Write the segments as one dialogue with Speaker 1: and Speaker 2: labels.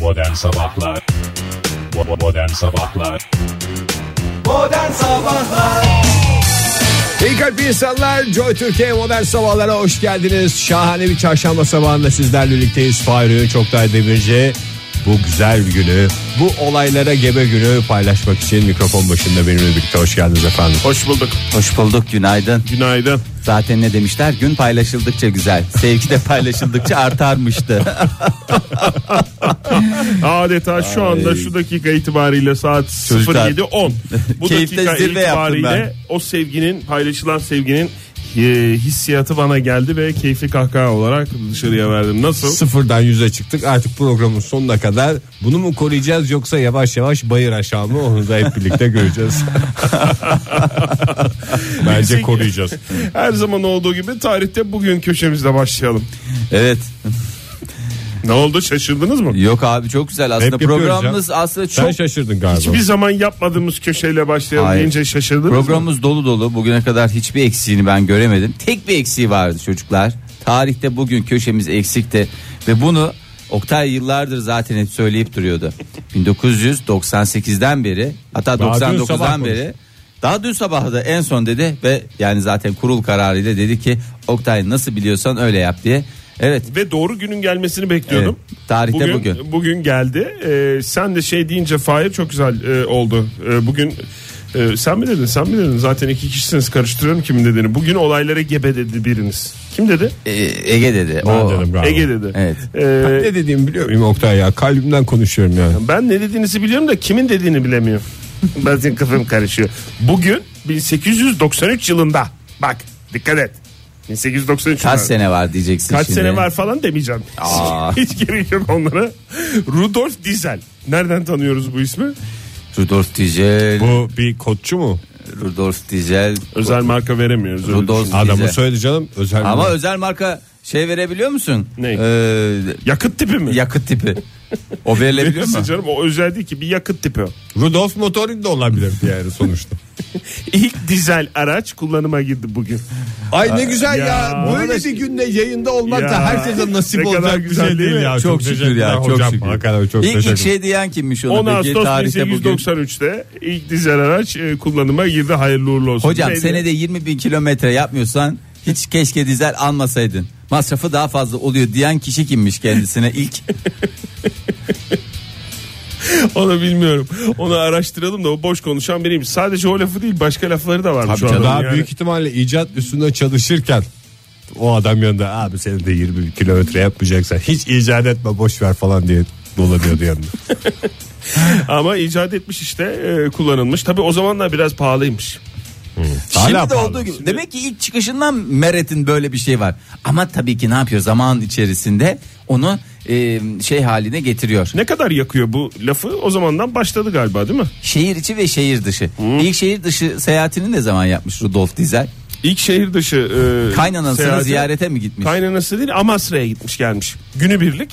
Speaker 1: Modern Sabahlar Bo- Modern Sabahlar
Speaker 2: Modern Sabahlar
Speaker 3: İyi kalp insanlar Joy Türkiye modern sabahlara hoş geldiniz. Şahane bir çarşamba sabahında sizlerle birlikteyiz. Fahri Çoktay Demirci bu güzel günü, bu olaylara gebe günü paylaşmak için mikrofon başında benimle birlikte hoş geldiniz efendim.
Speaker 4: Hoş bulduk.
Speaker 5: Hoş bulduk günaydın.
Speaker 4: Günaydın.
Speaker 5: Zaten ne demişler gün paylaşıldıkça güzel. Sevgi de paylaşıldıkça artarmıştı.
Speaker 4: Adeta şu anda şu dakika itibariyle saat
Speaker 5: Çocuklar.
Speaker 4: 07.10. Bu
Speaker 5: Keyifle
Speaker 4: dakika
Speaker 5: zirve yaptım
Speaker 4: itibariyle o sevginin paylaşılan sevginin e, hissiyatı bana geldi ve keyifli kahkaha olarak dışarıya verdim. Nasıl?
Speaker 3: Sıfırdan yüze çıktık artık programın sonuna kadar bunu mu koruyacağız yoksa yavaş yavaş bayır aşağı mı onu da hep birlikte göreceğiz. Bence koruyacağız.
Speaker 4: Her zaman olduğu gibi tarihte bugün köşemizle başlayalım.
Speaker 5: evet.
Speaker 4: Ne oldu şaşırdınız mı?
Speaker 5: Yok abi çok güzel aslında
Speaker 3: Hep yapıyoruz
Speaker 5: programımız aslında
Speaker 3: Sen
Speaker 5: çok
Speaker 3: şaşırdın galiba.
Speaker 4: Hiçbir zaman yapmadığımız köşeyle başlayalım
Speaker 5: Hayır.
Speaker 4: deyince şaşırdınız mı?
Speaker 5: programımız dolu dolu. Bugüne kadar hiçbir eksiğini ben göremedim. Tek bir eksiği vardı çocuklar. Tarihte bugün köşemiz eksikti ve bunu Oktay yıllardır zaten hep söyleyip duruyordu. 1998'den beri
Speaker 3: Daha
Speaker 5: hatta
Speaker 3: dün
Speaker 5: 99'dan
Speaker 3: sabah
Speaker 5: beri daha dün sabah da en son dedi ve yani zaten kurul kararıyla dedi ki Oktay nasıl biliyorsan öyle yap diye. Evet
Speaker 4: Ve doğru günün gelmesini bekliyordum.
Speaker 5: Evet, tarihte
Speaker 4: Bugün,
Speaker 5: bugün.
Speaker 4: geldi. Ee, sen de şey deyince Fahir çok güzel e, oldu. Ee, bugün e, sen mi dedin sen mi dedin zaten iki kişisiniz karıştırıyorum kimin dediğini. Bugün olaylara gebe dedi biriniz. Kim dedi?
Speaker 5: e, Ege dedi. O,
Speaker 3: dedim galiba.
Speaker 4: Ege dedi.
Speaker 5: Evet.
Speaker 4: Ee,
Speaker 3: Ne dediğimi biliyor muyum Oktay ya? Kalbimden konuşuyorum yani.
Speaker 4: ben ne dediğinizi biliyorum da kimin dediğini bilemiyorum. Bazen kafam karışıyor. Bugün 1893 yılında bak dikkat et. 1893
Speaker 5: Kaç
Speaker 4: yılında.
Speaker 5: sene var diyeceksin
Speaker 4: Kaç
Speaker 5: şimdi.
Speaker 4: sene var falan demeyeceğim.
Speaker 5: Aa.
Speaker 4: Hiç gerek yok onlara. Rudolf Diesel. Nereden tanıyoruz bu ismi?
Speaker 5: Rudolf Dijel.
Speaker 3: Bu bir kotçu mu?
Speaker 5: Rudolf Dijel.
Speaker 4: Özel marka veremiyoruz. öyle
Speaker 5: Rudolf
Speaker 4: düşün.
Speaker 3: Adamı
Speaker 5: Bize.
Speaker 3: söyledi canım. Özel
Speaker 5: Ama
Speaker 3: bir-
Speaker 5: özel marka şey verebiliyor musun?
Speaker 4: Ne?
Speaker 5: Ee,
Speaker 4: Yakıt tipi mi?
Speaker 5: yakıt tipi. O verilebiliyor mu?
Speaker 4: Nasıl canım o özel değil ki bir yakıt tipi. o.
Speaker 3: Rudolf Motorin de olabilirdi yani sonuçta.
Speaker 4: İlk dizel araç kullanıma girdi bugün.
Speaker 3: Ay ne güzel ya.
Speaker 4: Ya.
Speaker 3: Böyle bir günde yayında olmak
Speaker 4: Ya.
Speaker 3: da herkese
Speaker 4: Ne
Speaker 3: nasip
Speaker 4: kadar
Speaker 3: olacak
Speaker 4: güzel
Speaker 3: güzel şey değil
Speaker 4: değil mi?
Speaker 3: ya.
Speaker 5: Çok şükür ya,
Speaker 3: teşekkürler
Speaker 5: çok
Speaker 3: hocam.
Speaker 5: şükür.
Speaker 3: Hakikaten çok
Speaker 5: İlk, ilk
Speaker 3: teşekkür.
Speaker 5: şey diyen kimmiş
Speaker 4: 10
Speaker 5: ona peki
Speaker 4: Ağustos
Speaker 5: tarihte bugün?
Speaker 4: 1893'te ilk dizel araç e, kullanıma girdi hayırlı uğurlu olsun.
Speaker 5: Hocam
Speaker 4: Neydi?
Speaker 5: senede 20 bin kilometre yapmıyorsan hiç keşke dizel almasaydın. Masrafı daha fazla oluyor diyen kişi kimmiş kendisine ilk?
Speaker 4: Onu bilmiyorum. Onu araştıralım da o boş konuşan biriymiş. Sadece o lafı değil başka lafları da varmış.
Speaker 3: Tabii
Speaker 4: o
Speaker 3: canım.
Speaker 4: adamın
Speaker 3: Daha
Speaker 4: yani.
Speaker 3: büyük ihtimalle icat üstünde çalışırken o adam yanında abi senin de 20 kilometre yapmayacaksan hiç icat etme boş ver falan diye dolanıyordu yanında.
Speaker 4: Ama icat etmiş işte e, kullanılmış. Tabii o zamanlar biraz pahalıymış.
Speaker 3: Hala
Speaker 5: Şimdi de
Speaker 3: pahalı.
Speaker 5: olduğu gibi. Demek ki ilk çıkışından Meret'in böyle bir şey var. Ama tabii ki ne yapıyor zaman içerisinde onu e, şey haline getiriyor.
Speaker 4: Ne kadar yakıyor bu lafı? O zamandan başladı galiba değil mi?
Speaker 5: Şehir içi ve şehir dışı. İlk şehir dışı seyahatini ne zaman yapmış Rudolf Dizel?
Speaker 4: İlk şehir dışı e,
Speaker 5: Kaynanasını
Speaker 4: seyahati-
Speaker 5: ziyarete mi gitmiş?
Speaker 4: Kaynanası değil Amasra'ya gitmiş gelmiş. Günübirlik.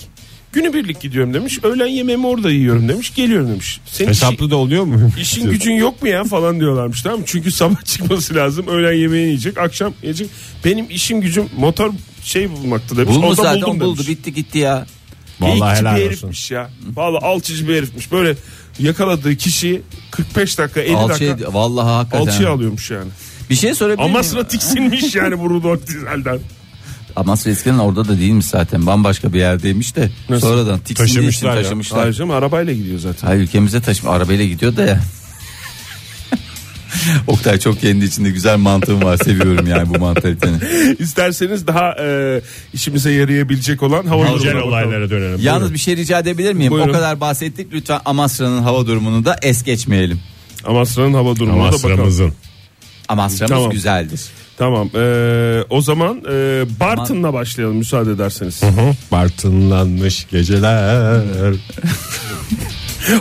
Speaker 4: Günübirlik gidiyorum demiş. Öğlen yemeğimi orada yiyorum demiş. Geliyorum demiş. Senin işi-
Speaker 3: Hesaplı da oluyor mu?
Speaker 4: işin gücün yok mu ya falan diyorlarmış tamam mı? Çünkü sabah çıkması lazım. Öğlen yemeğini yiyecek. Akşam yiyecek. Benim işim gücüm motor şey bulmaktı demiş.
Speaker 5: Bulmuş
Speaker 4: Orada
Speaker 5: zaten
Speaker 4: buldum
Speaker 5: buldu
Speaker 4: demiş.
Speaker 5: bitti gitti ya.
Speaker 3: Vallahi
Speaker 4: Geyikçi
Speaker 3: helal
Speaker 4: bir
Speaker 3: olsun.
Speaker 4: herifmiş ya. Vallahi alçıcı bir herifmiş. Böyle yakaladığı kişi 45 dakika 50
Speaker 5: Alçıya,
Speaker 4: dakika
Speaker 5: vallahi hakikaten.
Speaker 4: alçıya alıyormuş yani.
Speaker 5: Bir şey sorabilir miyim?
Speaker 4: Amasra tiksinmiş yani bu Rudolf Diesel'den.
Speaker 5: Amasra eskiden orada da değilmiş zaten. Bambaşka bir yerdeymiş de.
Speaker 4: Nasıl?
Speaker 5: Sonradan tiksindiği için
Speaker 3: Taşımışlar ya.
Speaker 5: taşımışlar.
Speaker 4: Hayır canım arabayla gidiyor zaten.
Speaker 5: Hayır ülkemize taşıma arabayla gidiyor da ya. Oktay çok kendi içinde güzel mantığım var. Seviyorum yani bu mantaliteni.
Speaker 4: İsterseniz daha e, işimize yarayabilecek olan hava
Speaker 3: Güncel
Speaker 4: durumuna bakalım.
Speaker 3: olaylara dönelim.
Speaker 5: Yalnız bir şey rica edebilir miyim?
Speaker 4: Buyurun.
Speaker 5: O kadar bahsettik. Lütfen Amasra'nın hava durumunu da es geçmeyelim.
Speaker 4: Amasra'nın hava durumuna da bakalım.
Speaker 3: Amasramızın.
Speaker 5: Amasra'mız
Speaker 4: Tamam.
Speaker 5: güzeldir.
Speaker 4: Tamam. e, o zaman e, Bartın'la başlayalım müsaade ederseniz.
Speaker 3: Bartınlanmış geceler.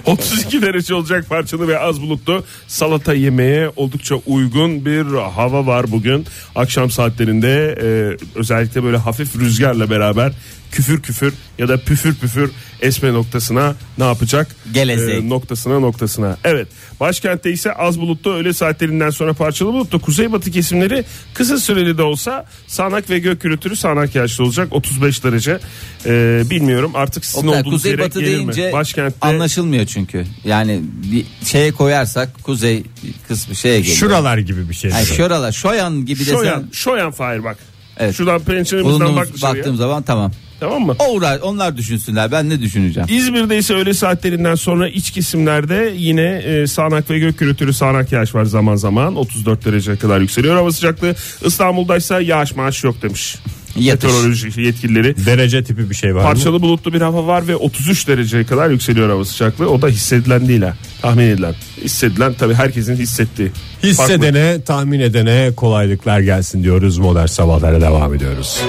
Speaker 4: 32 derece olacak parçalı ve az bulutlu salata yemeye oldukça uygun bir hava var bugün. Akşam saatlerinde e, özellikle böyle hafif rüzgarla beraber küfür küfür ya da püfür püfür esme noktasına ne yapacak?
Speaker 5: Gelecek.
Speaker 4: E, noktasına noktasına. Evet. Başkentte ise az bulutlu öğle saatlerinden sonra parçalı bulutlu. Kuzeybatı kesimleri kısa süreli de olsa sağanak ve gök gürültülü sağanak yağışlı olacak. 35 derece. E, bilmiyorum artık sizin
Speaker 5: Oktay,
Speaker 4: olduğunuz
Speaker 5: kuzey
Speaker 4: yere
Speaker 5: batı
Speaker 4: gelir mi?
Speaker 5: deyince
Speaker 4: Başkentte
Speaker 5: anlaşılmıyor çünkü. Yani bir şeye koyarsak kuzey kısmı şeye geliyor.
Speaker 3: Şuralar gibi bir şey.
Speaker 5: Yani şuralar, şoyan gibi desen.
Speaker 4: Şoyan, Şoyan Fahir bak.
Speaker 5: Evet.
Speaker 4: Şuradan penceremizden bak
Speaker 5: Bulunduğumuz
Speaker 4: dışarıya.
Speaker 5: baktığım zaman tamam.
Speaker 4: Tamam mı?
Speaker 5: O uğra- onlar düşünsünler ben ne düşüneceğim.
Speaker 4: İzmir'de ise öğle saatlerinden sonra iç kesimlerde yine e, sağanak ve gök gürültülü sağanak yağış var zaman zaman. 34 derece kadar yükseliyor hava sıcaklığı. İstanbul'da ise yağış maaş yok demiş.
Speaker 5: Yatış.
Speaker 4: Meteoroloji yetkilileri.
Speaker 3: Derece tipi bir şey var mı?
Speaker 4: Parçalı bulutlu bir hava var ve 33 dereceye kadar yükseliyor hava sıcaklığı. O da hissedilen değil ha. Tahmin edilen. Hissedilen tabii herkesin hissettiği. Farklı.
Speaker 3: Hissedene, tahmin edene kolaylıklar gelsin diyoruz. Modern sabahlara devam ediyoruz.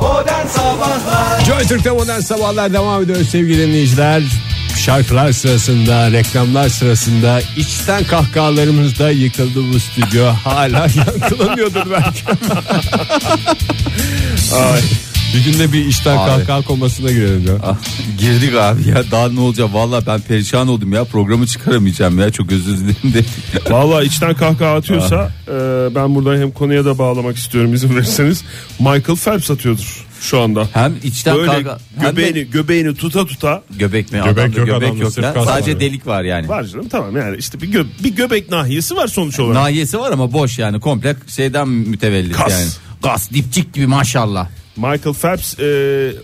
Speaker 2: Modern Sabahlar
Speaker 3: Joy Türk'te modern sabahlar devam ediyor sevgili dinleyiciler. Şarkılar sırasında, reklamlar sırasında içten kahkahalarımızda yıkıldı bu stüdyo. Hala yankılanıyordur belki. Ay. Bir günde bir içten
Speaker 5: Abi.
Speaker 3: kahkaha komasına girelim ya.
Speaker 5: Ah, Girdik abi ya daha ne olacak valla ben perişan oldum ya programı çıkaramayacağım ya çok özür dilerim de.
Speaker 4: Valla içten kahkaha atıyorsa e, ben buradan hem konuya da bağlamak istiyorum izin verirseniz. Michael Phelps atıyordur şu anda.
Speaker 5: Hem içten
Speaker 4: Böyle
Speaker 5: kavga hem de-
Speaker 4: göbeğini, göbeğini tuta tuta
Speaker 5: göbek mi?
Speaker 3: Göbek
Speaker 5: Adamda
Speaker 3: yok,
Speaker 5: göbek
Speaker 3: adamda
Speaker 5: yok
Speaker 3: sırf
Speaker 5: ya.
Speaker 3: kas
Speaker 5: Sadece
Speaker 3: var.
Speaker 5: delik var yani.
Speaker 4: var canım tamam yani işte bir, gö- bir göbek nahiyesi var sonuç olarak.
Speaker 5: Nahiyesi var ama boş yani komple şeyden mütevellit
Speaker 4: Kas.
Speaker 5: yani. Kas dipçik gibi maşallah.
Speaker 4: Michael Phelps e,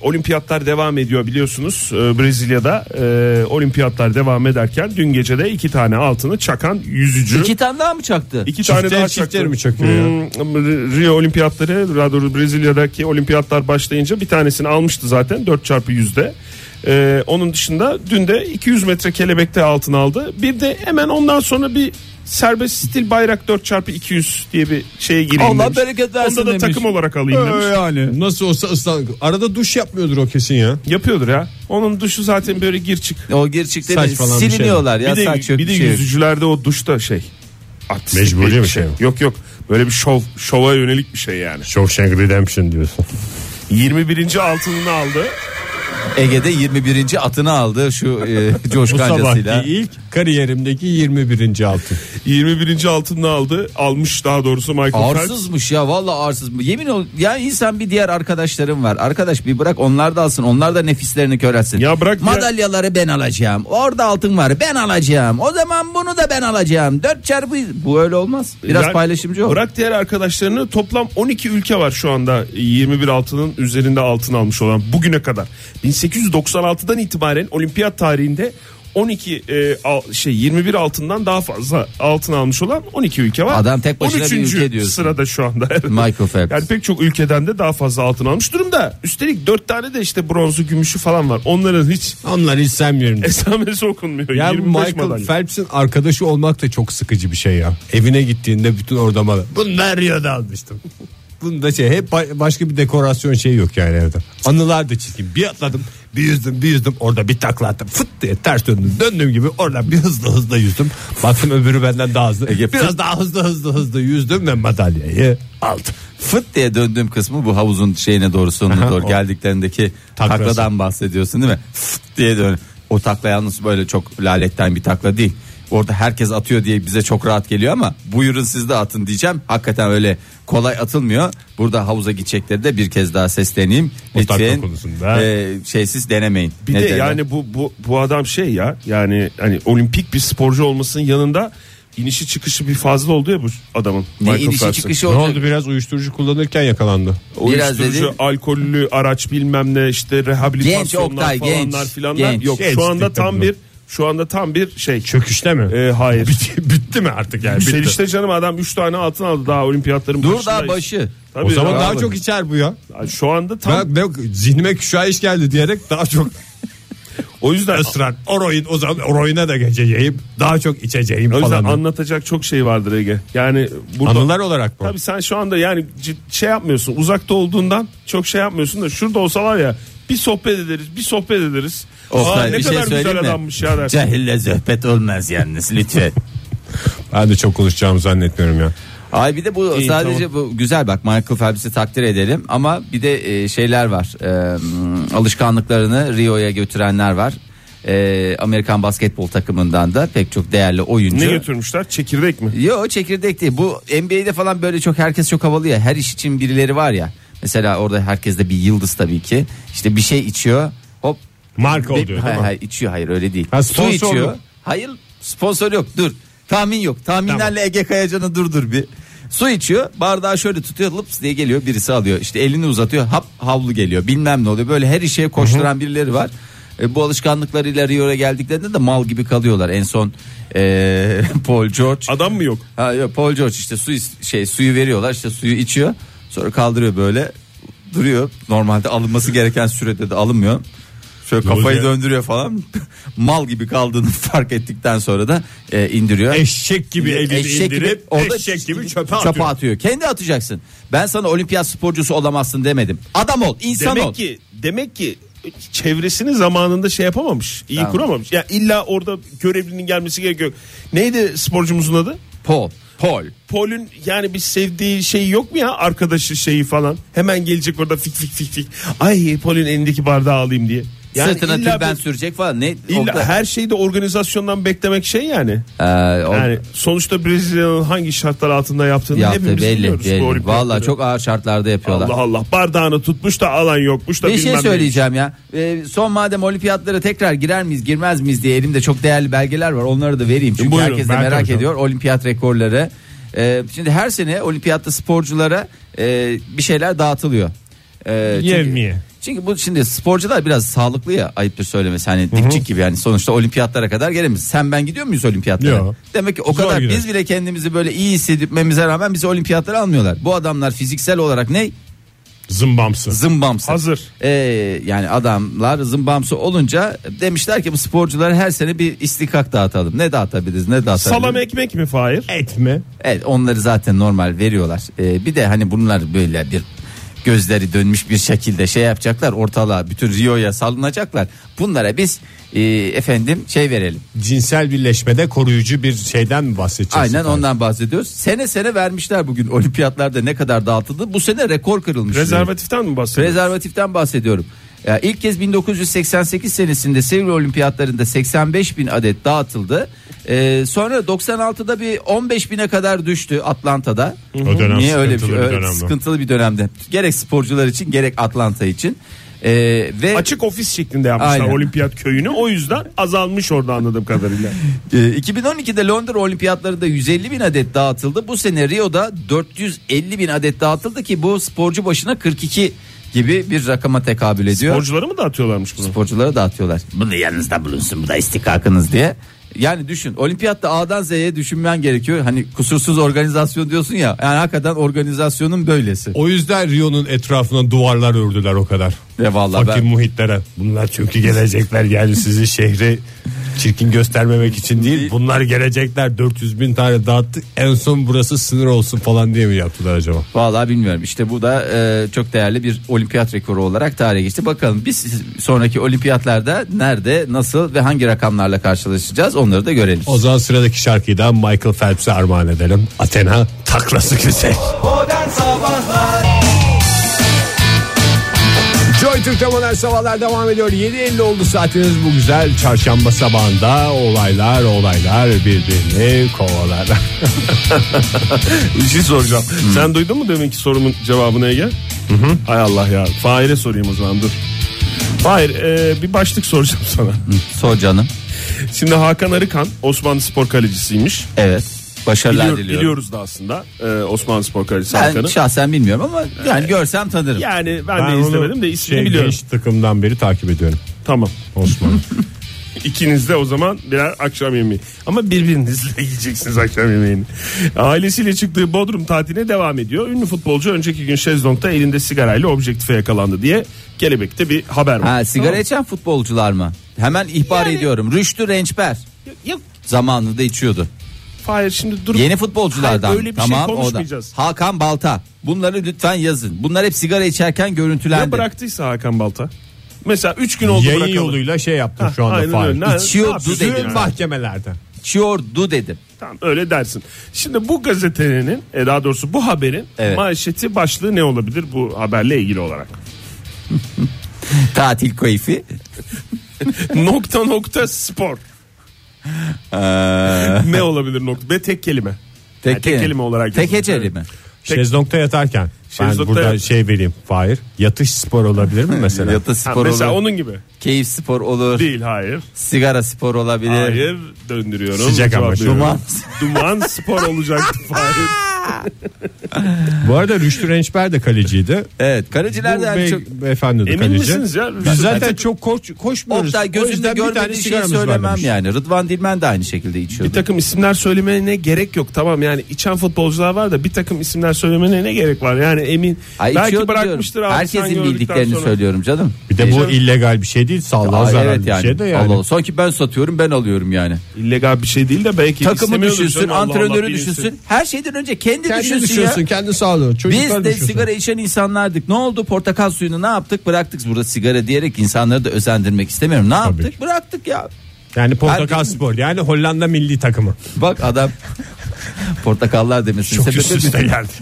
Speaker 4: olimpiyatlar devam ediyor biliyorsunuz e, Brezilya'da e, olimpiyatlar devam ederken dün gece de iki tane altını çakan yüzücü.
Speaker 5: İki tane daha mı çaktı?
Speaker 4: İki
Speaker 3: Çifte-
Speaker 4: tane daha
Speaker 3: çiftler
Speaker 4: çaktı.
Speaker 3: mi çakıyor ya?
Speaker 4: Hmm, R- Rio olimpiyatları daha doğrusu Brezilya'daki olimpiyatlar başlayınca bir tanesini almıştı zaten 4 çarpı yüzde. Ee, onun dışında dün de 200 metre kelebekte altın aldı. Bir de hemen ondan sonra bir serbest stil bayrak 4 çarpı 200 diye bir şeye gireyim
Speaker 5: Allah
Speaker 4: demiş.
Speaker 5: bereket versin
Speaker 4: Onda da
Speaker 5: demiş.
Speaker 4: takım olarak alayım demiş.
Speaker 3: yani. Nasıl olsa ıslan. Arada duş yapmıyordur o kesin ya.
Speaker 4: Yapıyordur ya. Onun duşu zaten böyle gir çık.
Speaker 5: O gerçekten
Speaker 3: Saç
Speaker 5: de
Speaker 3: falan bir şey.
Speaker 5: siliniyorlar ya
Speaker 4: bir de,
Speaker 5: saç yok
Speaker 4: bir de
Speaker 5: bir şey yok.
Speaker 4: yüzücülerde o duşta şey. Artistik
Speaker 3: Mecburi bir
Speaker 4: bir
Speaker 3: şey mi?
Speaker 4: Yok yok. Böyle bir şov, şova yönelik bir şey yani.
Speaker 3: Shawshank Redemption diyorsun.
Speaker 4: 21. altınını aldı.
Speaker 5: Ege'de 21. atını aldı şu e,
Speaker 3: Bu
Speaker 5: coşkancasıyla.
Speaker 3: sabahki ilk kariyerimdeki 21. altın.
Speaker 4: 21. altınını aldı. Almış daha doğrusu Michael Phelps.
Speaker 5: Arsızmış ya vallahi arsız. Yemin ol ya insan bir diğer arkadaşlarım var. Arkadaş bir bırak onlar da alsın. Onlar da nefislerini kör etsin.
Speaker 4: Ya bırak ya.
Speaker 5: Madalyaları ben alacağım. Orada altın var ben alacağım. O zaman bunu da ben alacağım. 4 çarpı bu öyle olmaz. Biraz
Speaker 4: Yani
Speaker 5: paylaşımcı ol.
Speaker 4: Bırak diğer arkadaşlarını toplam 12 ülke var şu anda 21 altının üzerinde altın almış olan bugüne kadar. 1896'dan itibaren olimpiyat tarihinde 12 e, al- şey 21 altından daha fazla altın almış olan 12 ülke var.
Speaker 5: Adam tek başına bir
Speaker 4: 13.
Speaker 5: ülke diyorsun.
Speaker 4: sırada şu anda.
Speaker 5: Michael Phelps.
Speaker 4: Yani pek çok ülkeden de daha fazla altın almış durumda. Üstelik 4 tane de işte bronzu, gümüşü falan var. Onların hiç
Speaker 3: Onlar hiç sevmiyorum.
Speaker 4: esamesi okunmuyor.
Speaker 3: Yani
Speaker 4: 25
Speaker 3: Michael
Speaker 4: madalya.
Speaker 3: Phelps'in arkadaşı olmak da çok sıkıcı bir şey ya. Evine gittiğinde bütün orada malı. Bunlar Rio'da almıştım. Bunda şey hep ba- başka bir dekorasyon şeyi yok yani evde. Anılar da çizeyim. Bir atladım, bir yüzdüm, bir yüzdüm. Orada bir takla attım. Fıt diye ters döndüm. Döndüğüm gibi oradan bir hızlı hızlı yüzdüm. Baktım öbürü benden daha hızlı. Biraz daha hızlı hızlı hızlı yüzdüm ve madalyayı aldım.
Speaker 5: Fıt diye döndüğüm kısmı bu havuzun şeyine doğru sonuna doğru
Speaker 3: o-
Speaker 5: geldiklerindeki
Speaker 3: Taklası.
Speaker 5: takladan bahsediyorsun değil mi? Fıt diye dön. O takla yalnız böyle çok laletten bir takla değil. Orada herkes atıyor diye bize çok rahat geliyor ama buyurun siz de atın diyeceğim. Hakikaten öyle kolay atılmıyor. Burada havuza gidecekleri de bir kez daha sesleneyim.
Speaker 3: O takla
Speaker 5: Lütfen
Speaker 3: konusunda.
Speaker 5: e, şeysiz denemeyin.
Speaker 4: Bir
Speaker 5: Ne
Speaker 4: de
Speaker 5: derler?
Speaker 4: yani bu, bu bu adam şey ya yani hani olimpik bir sporcu olmasının yanında inişi çıkışı bir fazla oldu ya bu adamın.
Speaker 5: ne
Speaker 4: Michael
Speaker 5: inişi
Speaker 4: Phelps'in.
Speaker 5: çıkışı
Speaker 3: Ne
Speaker 5: olacak.
Speaker 3: oldu biraz uyuşturucu kullanırken yakalandı.
Speaker 5: Biraz
Speaker 4: Uyuşturucu,
Speaker 5: dedi.
Speaker 4: alkollü araç bilmem ne işte rehabilitasyonlar
Speaker 5: Genç Oktay,
Speaker 4: falanlar
Speaker 5: genç,
Speaker 4: filanlar.
Speaker 5: genç.
Speaker 4: Yok
Speaker 3: Genç
Speaker 4: şu anda tam
Speaker 3: tabii.
Speaker 4: bir şu anda tam bir şey.
Speaker 3: Çöküşte mi?
Speaker 4: Ee, hayır.
Speaker 3: bitti, E, bitti mi artık yani? Bitti.
Speaker 4: Yükselişte canım adam 3 tane altın aldı daha olimpiyatların
Speaker 5: Dur
Speaker 4: başındayız.
Speaker 5: daha başı.
Speaker 4: Tabii
Speaker 3: o zaman
Speaker 4: ya.
Speaker 3: daha
Speaker 5: abi.
Speaker 3: çok içer bu ya.
Speaker 4: Şu anda tam
Speaker 3: Ben, ben zihnime küşayiş geldi diyerek daha çok
Speaker 4: o yüzden
Speaker 3: ısrar. Oroyun o zaman oroyuna da geçeceğim. Daha çok içeceğim
Speaker 4: o yüzden
Speaker 3: falan.
Speaker 4: anlatacak çok şey vardır Ege. Yani burada
Speaker 3: Anılar olarak mı?
Speaker 4: Tabii sen şu anda yani cid- şey yapmıyorsun uzakta olduğundan çok şey yapmıyorsun da şurada olsalar ya Bir sohbet ederiz, bir sohbet ederiz. Aa,
Speaker 5: Oktay,
Speaker 4: ne
Speaker 5: bir şey
Speaker 4: kadar güzel
Speaker 5: söyleyeyim mi?
Speaker 4: adammış ya dersin.
Speaker 5: Cahille zöhbet olmaz yalnız lütfen.
Speaker 3: Ben de çok konuşacağımı zannetmiyorum ya.
Speaker 5: Ay bir de bu
Speaker 4: İyi,
Speaker 5: sadece bu güzel bak Michael Phelps'i takdir edelim ama bir de e, şeyler var. E, m, alışkanlıklarını Rio'ya götürenler var. E, Amerikan basketbol takımından da pek çok değerli oyuncu.
Speaker 4: Ne götürmüşler? Çekirdek mi?
Speaker 5: Yo çekirdek değil. Bu NBA'de falan böyle çok herkes çok havalı ya. Her iş için birileri var ya. Mesela orada herkes de bir yıldız tabii ki. İşte bir şey içiyor. Hop.
Speaker 3: Marka oluyor, değil
Speaker 5: Hayır,
Speaker 3: mi?
Speaker 5: hayır içiyor hayır öyle değil.
Speaker 3: Ha,
Speaker 5: Su
Speaker 3: sponsor
Speaker 5: içiyor.
Speaker 3: mu?
Speaker 5: Hayır sponsor yok dur. Tahmin yok. Tahminlerle Ege Kayacan'ı durdur bir. Su içiyor bardağı şöyle tutuyor lıps diye geliyor birisi alıyor işte elini uzatıyor hap havlu geliyor bilmem ne oluyor böyle her işe koşturan birileri var. E, bu alışkanlıklarıyla Rio'ya geldiklerinde de mal gibi kalıyorlar en son e, Paul George
Speaker 4: Adam mı yok?
Speaker 5: Ha yok Paul George işte su is- şey suyu veriyorlar işte suyu içiyor. Sonra kaldırıyor böyle duruyor. Normalde alınması gereken sürede de alınmıyor. Şöyle kafayı
Speaker 3: oluyor?
Speaker 5: döndürüyor falan. Mal gibi kaldığını fark ettikten sonra da e, indiriyor.
Speaker 3: Eşek gibi elini
Speaker 5: Eşek gibi-
Speaker 3: indirip
Speaker 5: orada
Speaker 3: eşek gibi çöpe
Speaker 5: çöpe
Speaker 3: atıyor.
Speaker 5: atıyor. Kendi atacaksın. Ben sana olimpiyat sporcusu olamazsın demedim. Adam ol, insan
Speaker 4: Demek
Speaker 5: ol.
Speaker 4: ki demek ki çevresini zamanında şey yapamamış, iyi
Speaker 5: Tamam.
Speaker 4: kuramamış. Ya illa orada görevlinin gelmesi gerekiyor. Neydi sporcumuzun adı?
Speaker 5: Paul, Paul.
Speaker 4: Paul'ün yani bir sevdiği şey yok mu ya arkadaşı şeyi falan. Hemen gelecek orada fik fik fik fik. Ay Paul'ün elindeki bardağı alayım diye. Yani
Speaker 5: Sırtına
Speaker 4: illa
Speaker 5: tülben
Speaker 4: bir-
Speaker 5: sürecek falan. Ne?
Speaker 4: illa
Speaker 5: Oktay-
Speaker 4: her şeyi de organizasyondan beklemek şey yani.
Speaker 5: Ee, o-
Speaker 4: Yani sonuçta Brezilya'nın hangi şartlar altında yaptığını
Speaker 5: yaptı
Speaker 4: hepimiz
Speaker 5: belli,
Speaker 4: biliyoruz. bu
Speaker 5: belli.
Speaker 4: olimpiyatları.
Speaker 5: Valla çok ağır şartlarda yapıyorlar.
Speaker 4: Allah Allah bardağını tutmuş da alan yokmuş da
Speaker 5: Bir
Speaker 4: bilmem
Speaker 5: şey
Speaker 4: ne.
Speaker 5: söyleyeceğim ya. Ee, son madem olimpiyatlara tekrar girer miyiz girmez miyiz diye elimde çok değerli belgeler var. Onları da vereyim. Çünkü
Speaker 4: Buyurun,
Speaker 5: herkes de
Speaker 4: Berkay
Speaker 5: merak
Speaker 4: Hocam.
Speaker 5: ediyor olimpiyat rekorları. Ee, şimdi her sene olimpiyatta sporculara e, bir şeyler dağıtılıyor. Ee, çünkü-
Speaker 3: Yevmiye.
Speaker 5: Çünkü bu şimdi sporcular biraz sağlıklı ya ayıptır söylemesi hani dipçik gibi yani sonuçta olimpiyatlara kadar gelemeyiz. Sen ben gidiyor muyuz olimpiyatlara?
Speaker 3: Yok.
Speaker 5: Demek ki o
Speaker 3: Zor
Speaker 5: kadar
Speaker 3: gider.
Speaker 5: biz bile kendimizi böyle iyi hissetmemize rağmen bizi olimpiyatlara almıyorlar. Bu adamlar fiziksel olarak ne?
Speaker 3: Zımbamsı.
Speaker 5: Zımbamsı.
Speaker 4: Hazır.
Speaker 5: Ee, yani adamlar zımbamsı olunca demişler ki bu sporculara her sene bir istikak dağıtalım. Ne dağıtabiliriz ne dağıtabiliriz.
Speaker 4: Salam ekmek mi Fahir?
Speaker 3: Etme.
Speaker 5: Evet onları zaten normal veriyorlar. Ee, bir de hani bunlar böyle bir gözleri dönmüş bir şekilde şey yapacaklar. Ortalığa bütün Rio'ya salınacaklar. Bunlara biz e, efendim şey verelim.
Speaker 3: Cinsel birleşmede koruyucu bir şeyden mi bahsedeceğiz?
Speaker 5: Aynen ondan bahsediyoruz. Sene sene vermişler bugün olimpiyatlarda ne kadar dağıtıldı. Bu sene rekor kırılmış.
Speaker 4: Rezervatiften mi bahsediyorsun?
Speaker 5: Rezervatiften bahsediyorum. Ya ilk kez 1988 senesinde Seul Olimpiyatlarında 85 bin adet dağıtıldı. Ee, sonra 96'da bir 15 bine kadar düştü Atlanta'da.
Speaker 3: O dönem
Speaker 5: Niye öyle bir, şey?
Speaker 3: sıkıntılı bir
Speaker 5: öyle
Speaker 3: dönemdi.
Speaker 5: sıkıntılı bir dönemde. Gerek sporcular için gerek Atlanta için. Ee, ve
Speaker 4: Açık ofis şeklinde yapmışlar
Speaker 5: Aynen.
Speaker 4: olimpiyat köyünü. O yüzden azalmış orada anladığım kadarıyla.
Speaker 5: e, 2012'de Londra Olimpiyatlarında 150 bin adet dağıtıldı. Bu sene Rio'da 450 bin adet dağıtıldı ki bu sporcu başına 42 gibi bir rakama tekabül ediyor.
Speaker 4: Borcuları mı dağıtıyorlarmış bunu?
Speaker 5: sporculara dağıtıyorlar. Bunu yanınızda bulunsun bu da istikakınız diye. Yani düşün olimpiyatta A'dan Z'ye düşünmen gerekiyor. Hani kusursuz organizasyon diyorsun ya. Yani hakikaten organizasyonun böylesi.
Speaker 3: O yüzden Rio'nun etrafına duvarlar ördüler o kadar.
Speaker 5: Ve vallahi
Speaker 3: Fakir
Speaker 5: ben-
Speaker 3: muhitlere. Bunlar çünkü gelecekler yani sizi şehri çirkin göstermemek için değil. Bunlar gelecekler 400 bin tane dağıttık. En son burası sınır olsun falan diye mi yaptılar acaba?
Speaker 5: Vallahi bilmiyorum. İşte bu da e, çok değerli bir olimpiyat rekoru olarak tarihe geçti. Bakalım biz sonraki olimpiyatlarda nerede, nasıl ve hangi rakamlarla karşılaşacağız onları da görelim.
Speaker 3: O zaman sıradaki şarkıyı da Michael Phelps'e armağan edelim. Athena taklası güzel.
Speaker 2: Modern Sabahlar
Speaker 3: Joy Türk'te modern sabahlar devam ediyor. 7.50 oldu saatiniz bu güzel çarşamba sabahında olaylar olaylar birbirini kovalar.
Speaker 4: Bir şey soracağım.
Speaker 5: Hmm.
Speaker 4: Sen duydun mu deminki sorumun cevabını Ege? Hay Allah ya. Fahir'e sorayım o zaman dur. Fahir e, bir başlık soracağım sana.
Speaker 5: Sor canım.
Speaker 4: Şimdi Hakan Arıkan Osmanlı Spor Kalecisiymiş.
Speaker 5: Evet. Başarılar
Speaker 4: Biliyor-
Speaker 5: diliyorum.
Speaker 4: biliyoruz da aslında e, Osmanlı Spor Kalecisi
Speaker 5: Ben
Speaker 4: Hakan'ı.
Speaker 5: şahsen bilmiyorum ama yani görsem tanırım.
Speaker 4: Yani ben, de izlemedim de ismini
Speaker 3: şey,
Speaker 4: biliyorum.
Speaker 3: Genç takımdan beri takip ediyorum.
Speaker 4: Tamam.
Speaker 3: Osman.
Speaker 4: İkiniz de o zaman birer akşam yemeği. Ama birbirinizle yiyeceksiniz akşam yemeğini. Ailesiyle çıktığı Bodrum tatiline devam ediyor. Ünlü futbolcu önceki gün şezlongda elinde sigarayla objektife yakalandı diye Kelebek'te bir haber var.
Speaker 5: Ha sigara
Speaker 4: Tamam.
Speaker 5: içen futbolcular mı? Hemen ihbar
Speaker 4: Yani-
Speaker 5: ediyorum. Rüştü Rençber
Speaker 4: Yok, Yok
Speaker 5: zamanında içiyordu.
Speaker 4: Hayır şimdi dur.
Speaker 5: Yeni futbolculardan.
Speaker 4: Hayır, öyle bir şey
Speaker 5: tamam o da.
Speaker 4: konuşmayacağız.
Speaker 5: Hakan Balta. Bunları lütfen yazın. Bunlar hep sigara içerken görüntülendi.
Speaker 4: Ya bıraktıysa Hakan Balta? Mesela 3 gün oldu
Speaker 3: Yayın
Speaker 4: bırakalım.
Speaker 3: yoluyla şey yaptım şu anda.
Speaker 4: aynen
Speaker 3: Fahir.
Speaker 4: öyle. Ne-
Speaker 5: İçiyordu
Speaker 4: ne yapıyorsun?
Speaker 5: dedim.
Speaker 3: Bütün mahkemelerde.
Speaker 5: Çiyordu dedim.
Speaker 4: Tamam öyle dersin. Şimdi bu gazetenin e, daha doğrusu bu haberin
Speaker 5: Evet.
Speaker 4: manşeti başlığı ne olabilir bu haberle ilgili olarak?
Speaker 5: Tatil keyfi.
Speaker 4: nokta nokta spor.
Speaker 5: Ee,
Speaker 4: ne olabilir nokta? Ve tek kelime.
Speaker 5: Tek,
Speaker 4: tek kelime olarak
Speaker 5: Tek
Speaker 4: yazılmış,
Speaker 5: heceli
Speaker 4: evet.
Speaker 5: mi?
Speaker 4: Tek-
Speaker 3: Şezlong'da yatarken. ben
Speaker 4: Şezlong'da
Speaker 3: burada
Speaker 4: yat-
Speaker 3: şey vereyim Fahir. Yatış spor olabilir mi mesela?
Speaker 5: Yatı
Speaker 4: Ha,
Speaker 5: spor
Speaker 4: mesela
Speaker 5: olur.
Speaker 4: onun gibi.
Speaker 5: Keyif spor olur.
Speaker 4: Değil hayır.
Speaker 5: Sigara spor olabilir.
Speaker 4: Hayır döndürüyorum.
Speaker 3: Sıcak ama
Speaker 4: cevaplıyorum.
Speaker 5: Duman.
Speaker 4: Duman spor olacak. Hayır.
Speaker 3: Bu arada Rüştü Rençber de kaleciydi.
Speaker 5: Evet
Speaker 3: Bu
Speaker 5: kaleciler de hani
Speaker 3: bey-
Speaker 5: çok...
Speaker 3: beyefendi de
Speaker 4: Emin
Speaker 3: kaleci.
Speaker 4: misiniz ya?
Speaker 3: Biz zaten çok koş, koşmuyoruz.
Speaker 5: Oktay
Speaker 3: O yüzden
Speaker 5: gözümde
Speaker 3: bir tane
Speaker 5: görmediği şeyi
Speaker 3: sigaramız var
Speaker 5: söylemem
Speaker 3: demiş.
Speaker 5: yani. Rıdvan Dilmen de aynı şekilde içiyordu.
Speaker 4: bir takım isimler söylemene gerek yok. Tamam yani içen futbolcular var da bir takım isimler söylemene ne gerek var? Yani emin
Speaker 5: Ay,
Speaker 4: belki
Speaker 5: içiyordu
Speaker 4: bırakmıştır.
Speaker 5: diyorum.
Speaker 4: abi sen
Speaker 5: Herkesin
Speaker 4: gördükten
Speaker 5: bildiklerini
Speaker 4: sonra.
Speaker 5: söylüyorum canım.
Speaker 3: Bir de bu
Speaker 5: Ee,
Speaker 3: illegal bir şey değil. Sağlığa
Speaker 5: Aa,
Speaker 3: zararlı
Speaker 5: evet yani.
Speaker 3: bir şey de yani.
Speaker 5: Allah Allah. Sanki ben satıyorum ben alıyorum yani.
Speaker 4: İllegal bir şey değil de belki
Speaker 5: Takımı
Speaker 4: istemiyordur
Speaker 5: düşünsün,
Speaker 4: canım, Allah Allah
Speaker 5: antrenörü
Speaker 4: bilinsin.
Speaker 5: düşünsün. Her şeyden önce kendi,
Speaker 3: Kendi
Speaker 5: düşünsün,
Speaker 3: düşünsün,
Speaker 5: ya.
Speaker 3: kendi sağlığı. Çocuklar
Speaker 5: Biz de
Speaker 3: düşünsün.
Speaker 5: sigara içen insanlardık. Ne oldu? Portakal suyunu ne yaptık? Bıraktık. Burada sigara diyerek insanları da özendirmek istemiyorum. Ne yaptık? Bıraktık ya.
Speaker 3: Yani portakal
Speaker 5: Ben-
Speaker 3: spor yani Hollanda milli takımı.
Speaker 5: Bak adam portakallar demesin.
Speaker 3: Çok
Speaker 5: Sebebi
Speaker 3: üst üste
Speaker 5: bizim-
Speaker 3: geldi.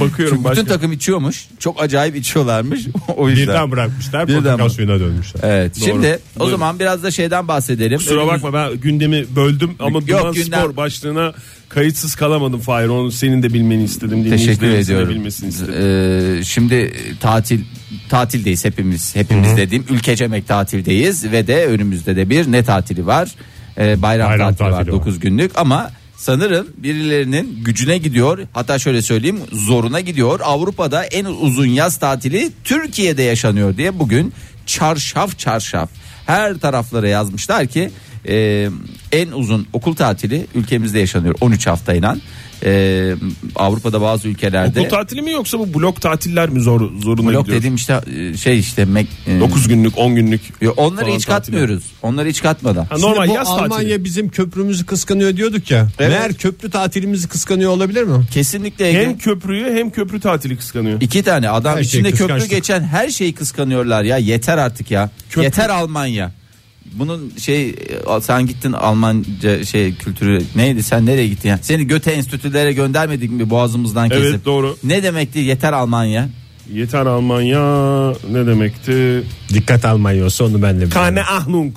Speaker 4: Bakıyorum
Speaker 5: Çünkü
Speaker 4: başka.
Speaker 5: bütün takım içiyormuş. Çok acayip içiyorlarmış. o yüzden.
Speaker 3: Birden bırakmışlar
Speaker 5: Birden
Speaker 3: portakal
Speaker 5: bırak-
Speaker 3: suyuna dönmüşler.
Speaker 5: Evet.
Speaker 4: Doğru.
Speaker 5: Şimdi o
Speaker 4: Buyurun.
Speaker 5: zaman biraz da şeyden bahsedelim.
Speaker 4: Kusura
Speaker 5: Önümüz-
Speaker 4: bakma ben gündemi böldüm ama
Speaker 5: Yok,
Speaker 4: Duman
Speaker 5: gündem-
Speaker 4: Spor başlığına kayıtsız kalamadım Fahir. Onu senin de bilmeni istedim.
Speaker 5: Teşekkür
Speaker 4: dinleyicilerimizin de
Speaker 5: ediyorum.
Speaker 4: Bilmesini istedim.
Speaker 5: Ee, şimdi tatil tatildeyiz hepimiz. Hepimiz dediğim ülkecemek tatildeyiz ve de önümüzde de bir ne tatili var? Ee,
Speaker 3: Bayram
Speaker 5: bayram, tatili,
Speaker 3: tatili
Speaker 5: var
Speaker 3: var.
Speaker 5: 9 günlük ama sanırım birilerinin gücüne gidiyor. Hatta şöyle söyleyeyim zoruna gidiyor. Avrupa'da en uzun yaz tatili Türkiye'de yaşanıyor diye bugün çarşaf çarşaf her taraflara yazmışlar ki e, en uzun okul tatili ülkemizde yaşanıyor 13 haftayla. E, Avrupa'da bazı ülkelerde
Speaker 4: Okul tatili mi yoksa bu blok tatiller mi zor, zoruna
Speaker 5: e, Blok
Speaker 4: gidiyor?
Speaker 5: dediğim işte e, şey işte mek, e,
Speaker 4: 9 günlük 10 günlük.
Speaker 5: ya onları
Speaker 4: falan
Speaker 5: hiç
Speaker 4: tatili.
Speaker 5: katmıyoruz. Onları hiç katmadan.
Speaker 4: Ha,
Speaker 3: Şimdi
Speaker 4: normal
Speaker 3: bu
Speaker 4: yaz
Speaker 3: Almanya
Speaker 4: tatili.
Speaker 3: bizim köprümüzü kıskanıyor diyorduk ya.
Speaker 5: Evet.
Speaker 3: Meğer köprü tatilimizi kıskanıyor olabilir mi?
Speaker 5: Kesinlikle Ege.
Speaker 4: Hem köprüyü hem köprü tatili kıskanıyor.
Speaker 5: iki tane adam
Speaker 3: Her şeyi
Speaker 5: içinde köprü
Speaker 3: kıskançlık.
Speaker 5: geçen her şeyi kıskanıyorlar ya. Yeter artık ya.
Speaker 3: Köprü-
Speaker 5: Yeter Almanya. Bunun şey e, sen gittin Almanca şey kültürü neydi sen nereye gittin ya? Seni göte enstitülere göndermedik mi boğazımızdan
Speaker 4: Evet,
Speaker 5: kesip?
Speaker 4: doğru.
Speaker 5: Ne demekti yeter Almanya?
Speaker 4: Yeter Almanya ne demekti?
Speaker 3: Dikkat Almanya olsa onu ben de bilirim.
Speaker 4: Kane Ahnung.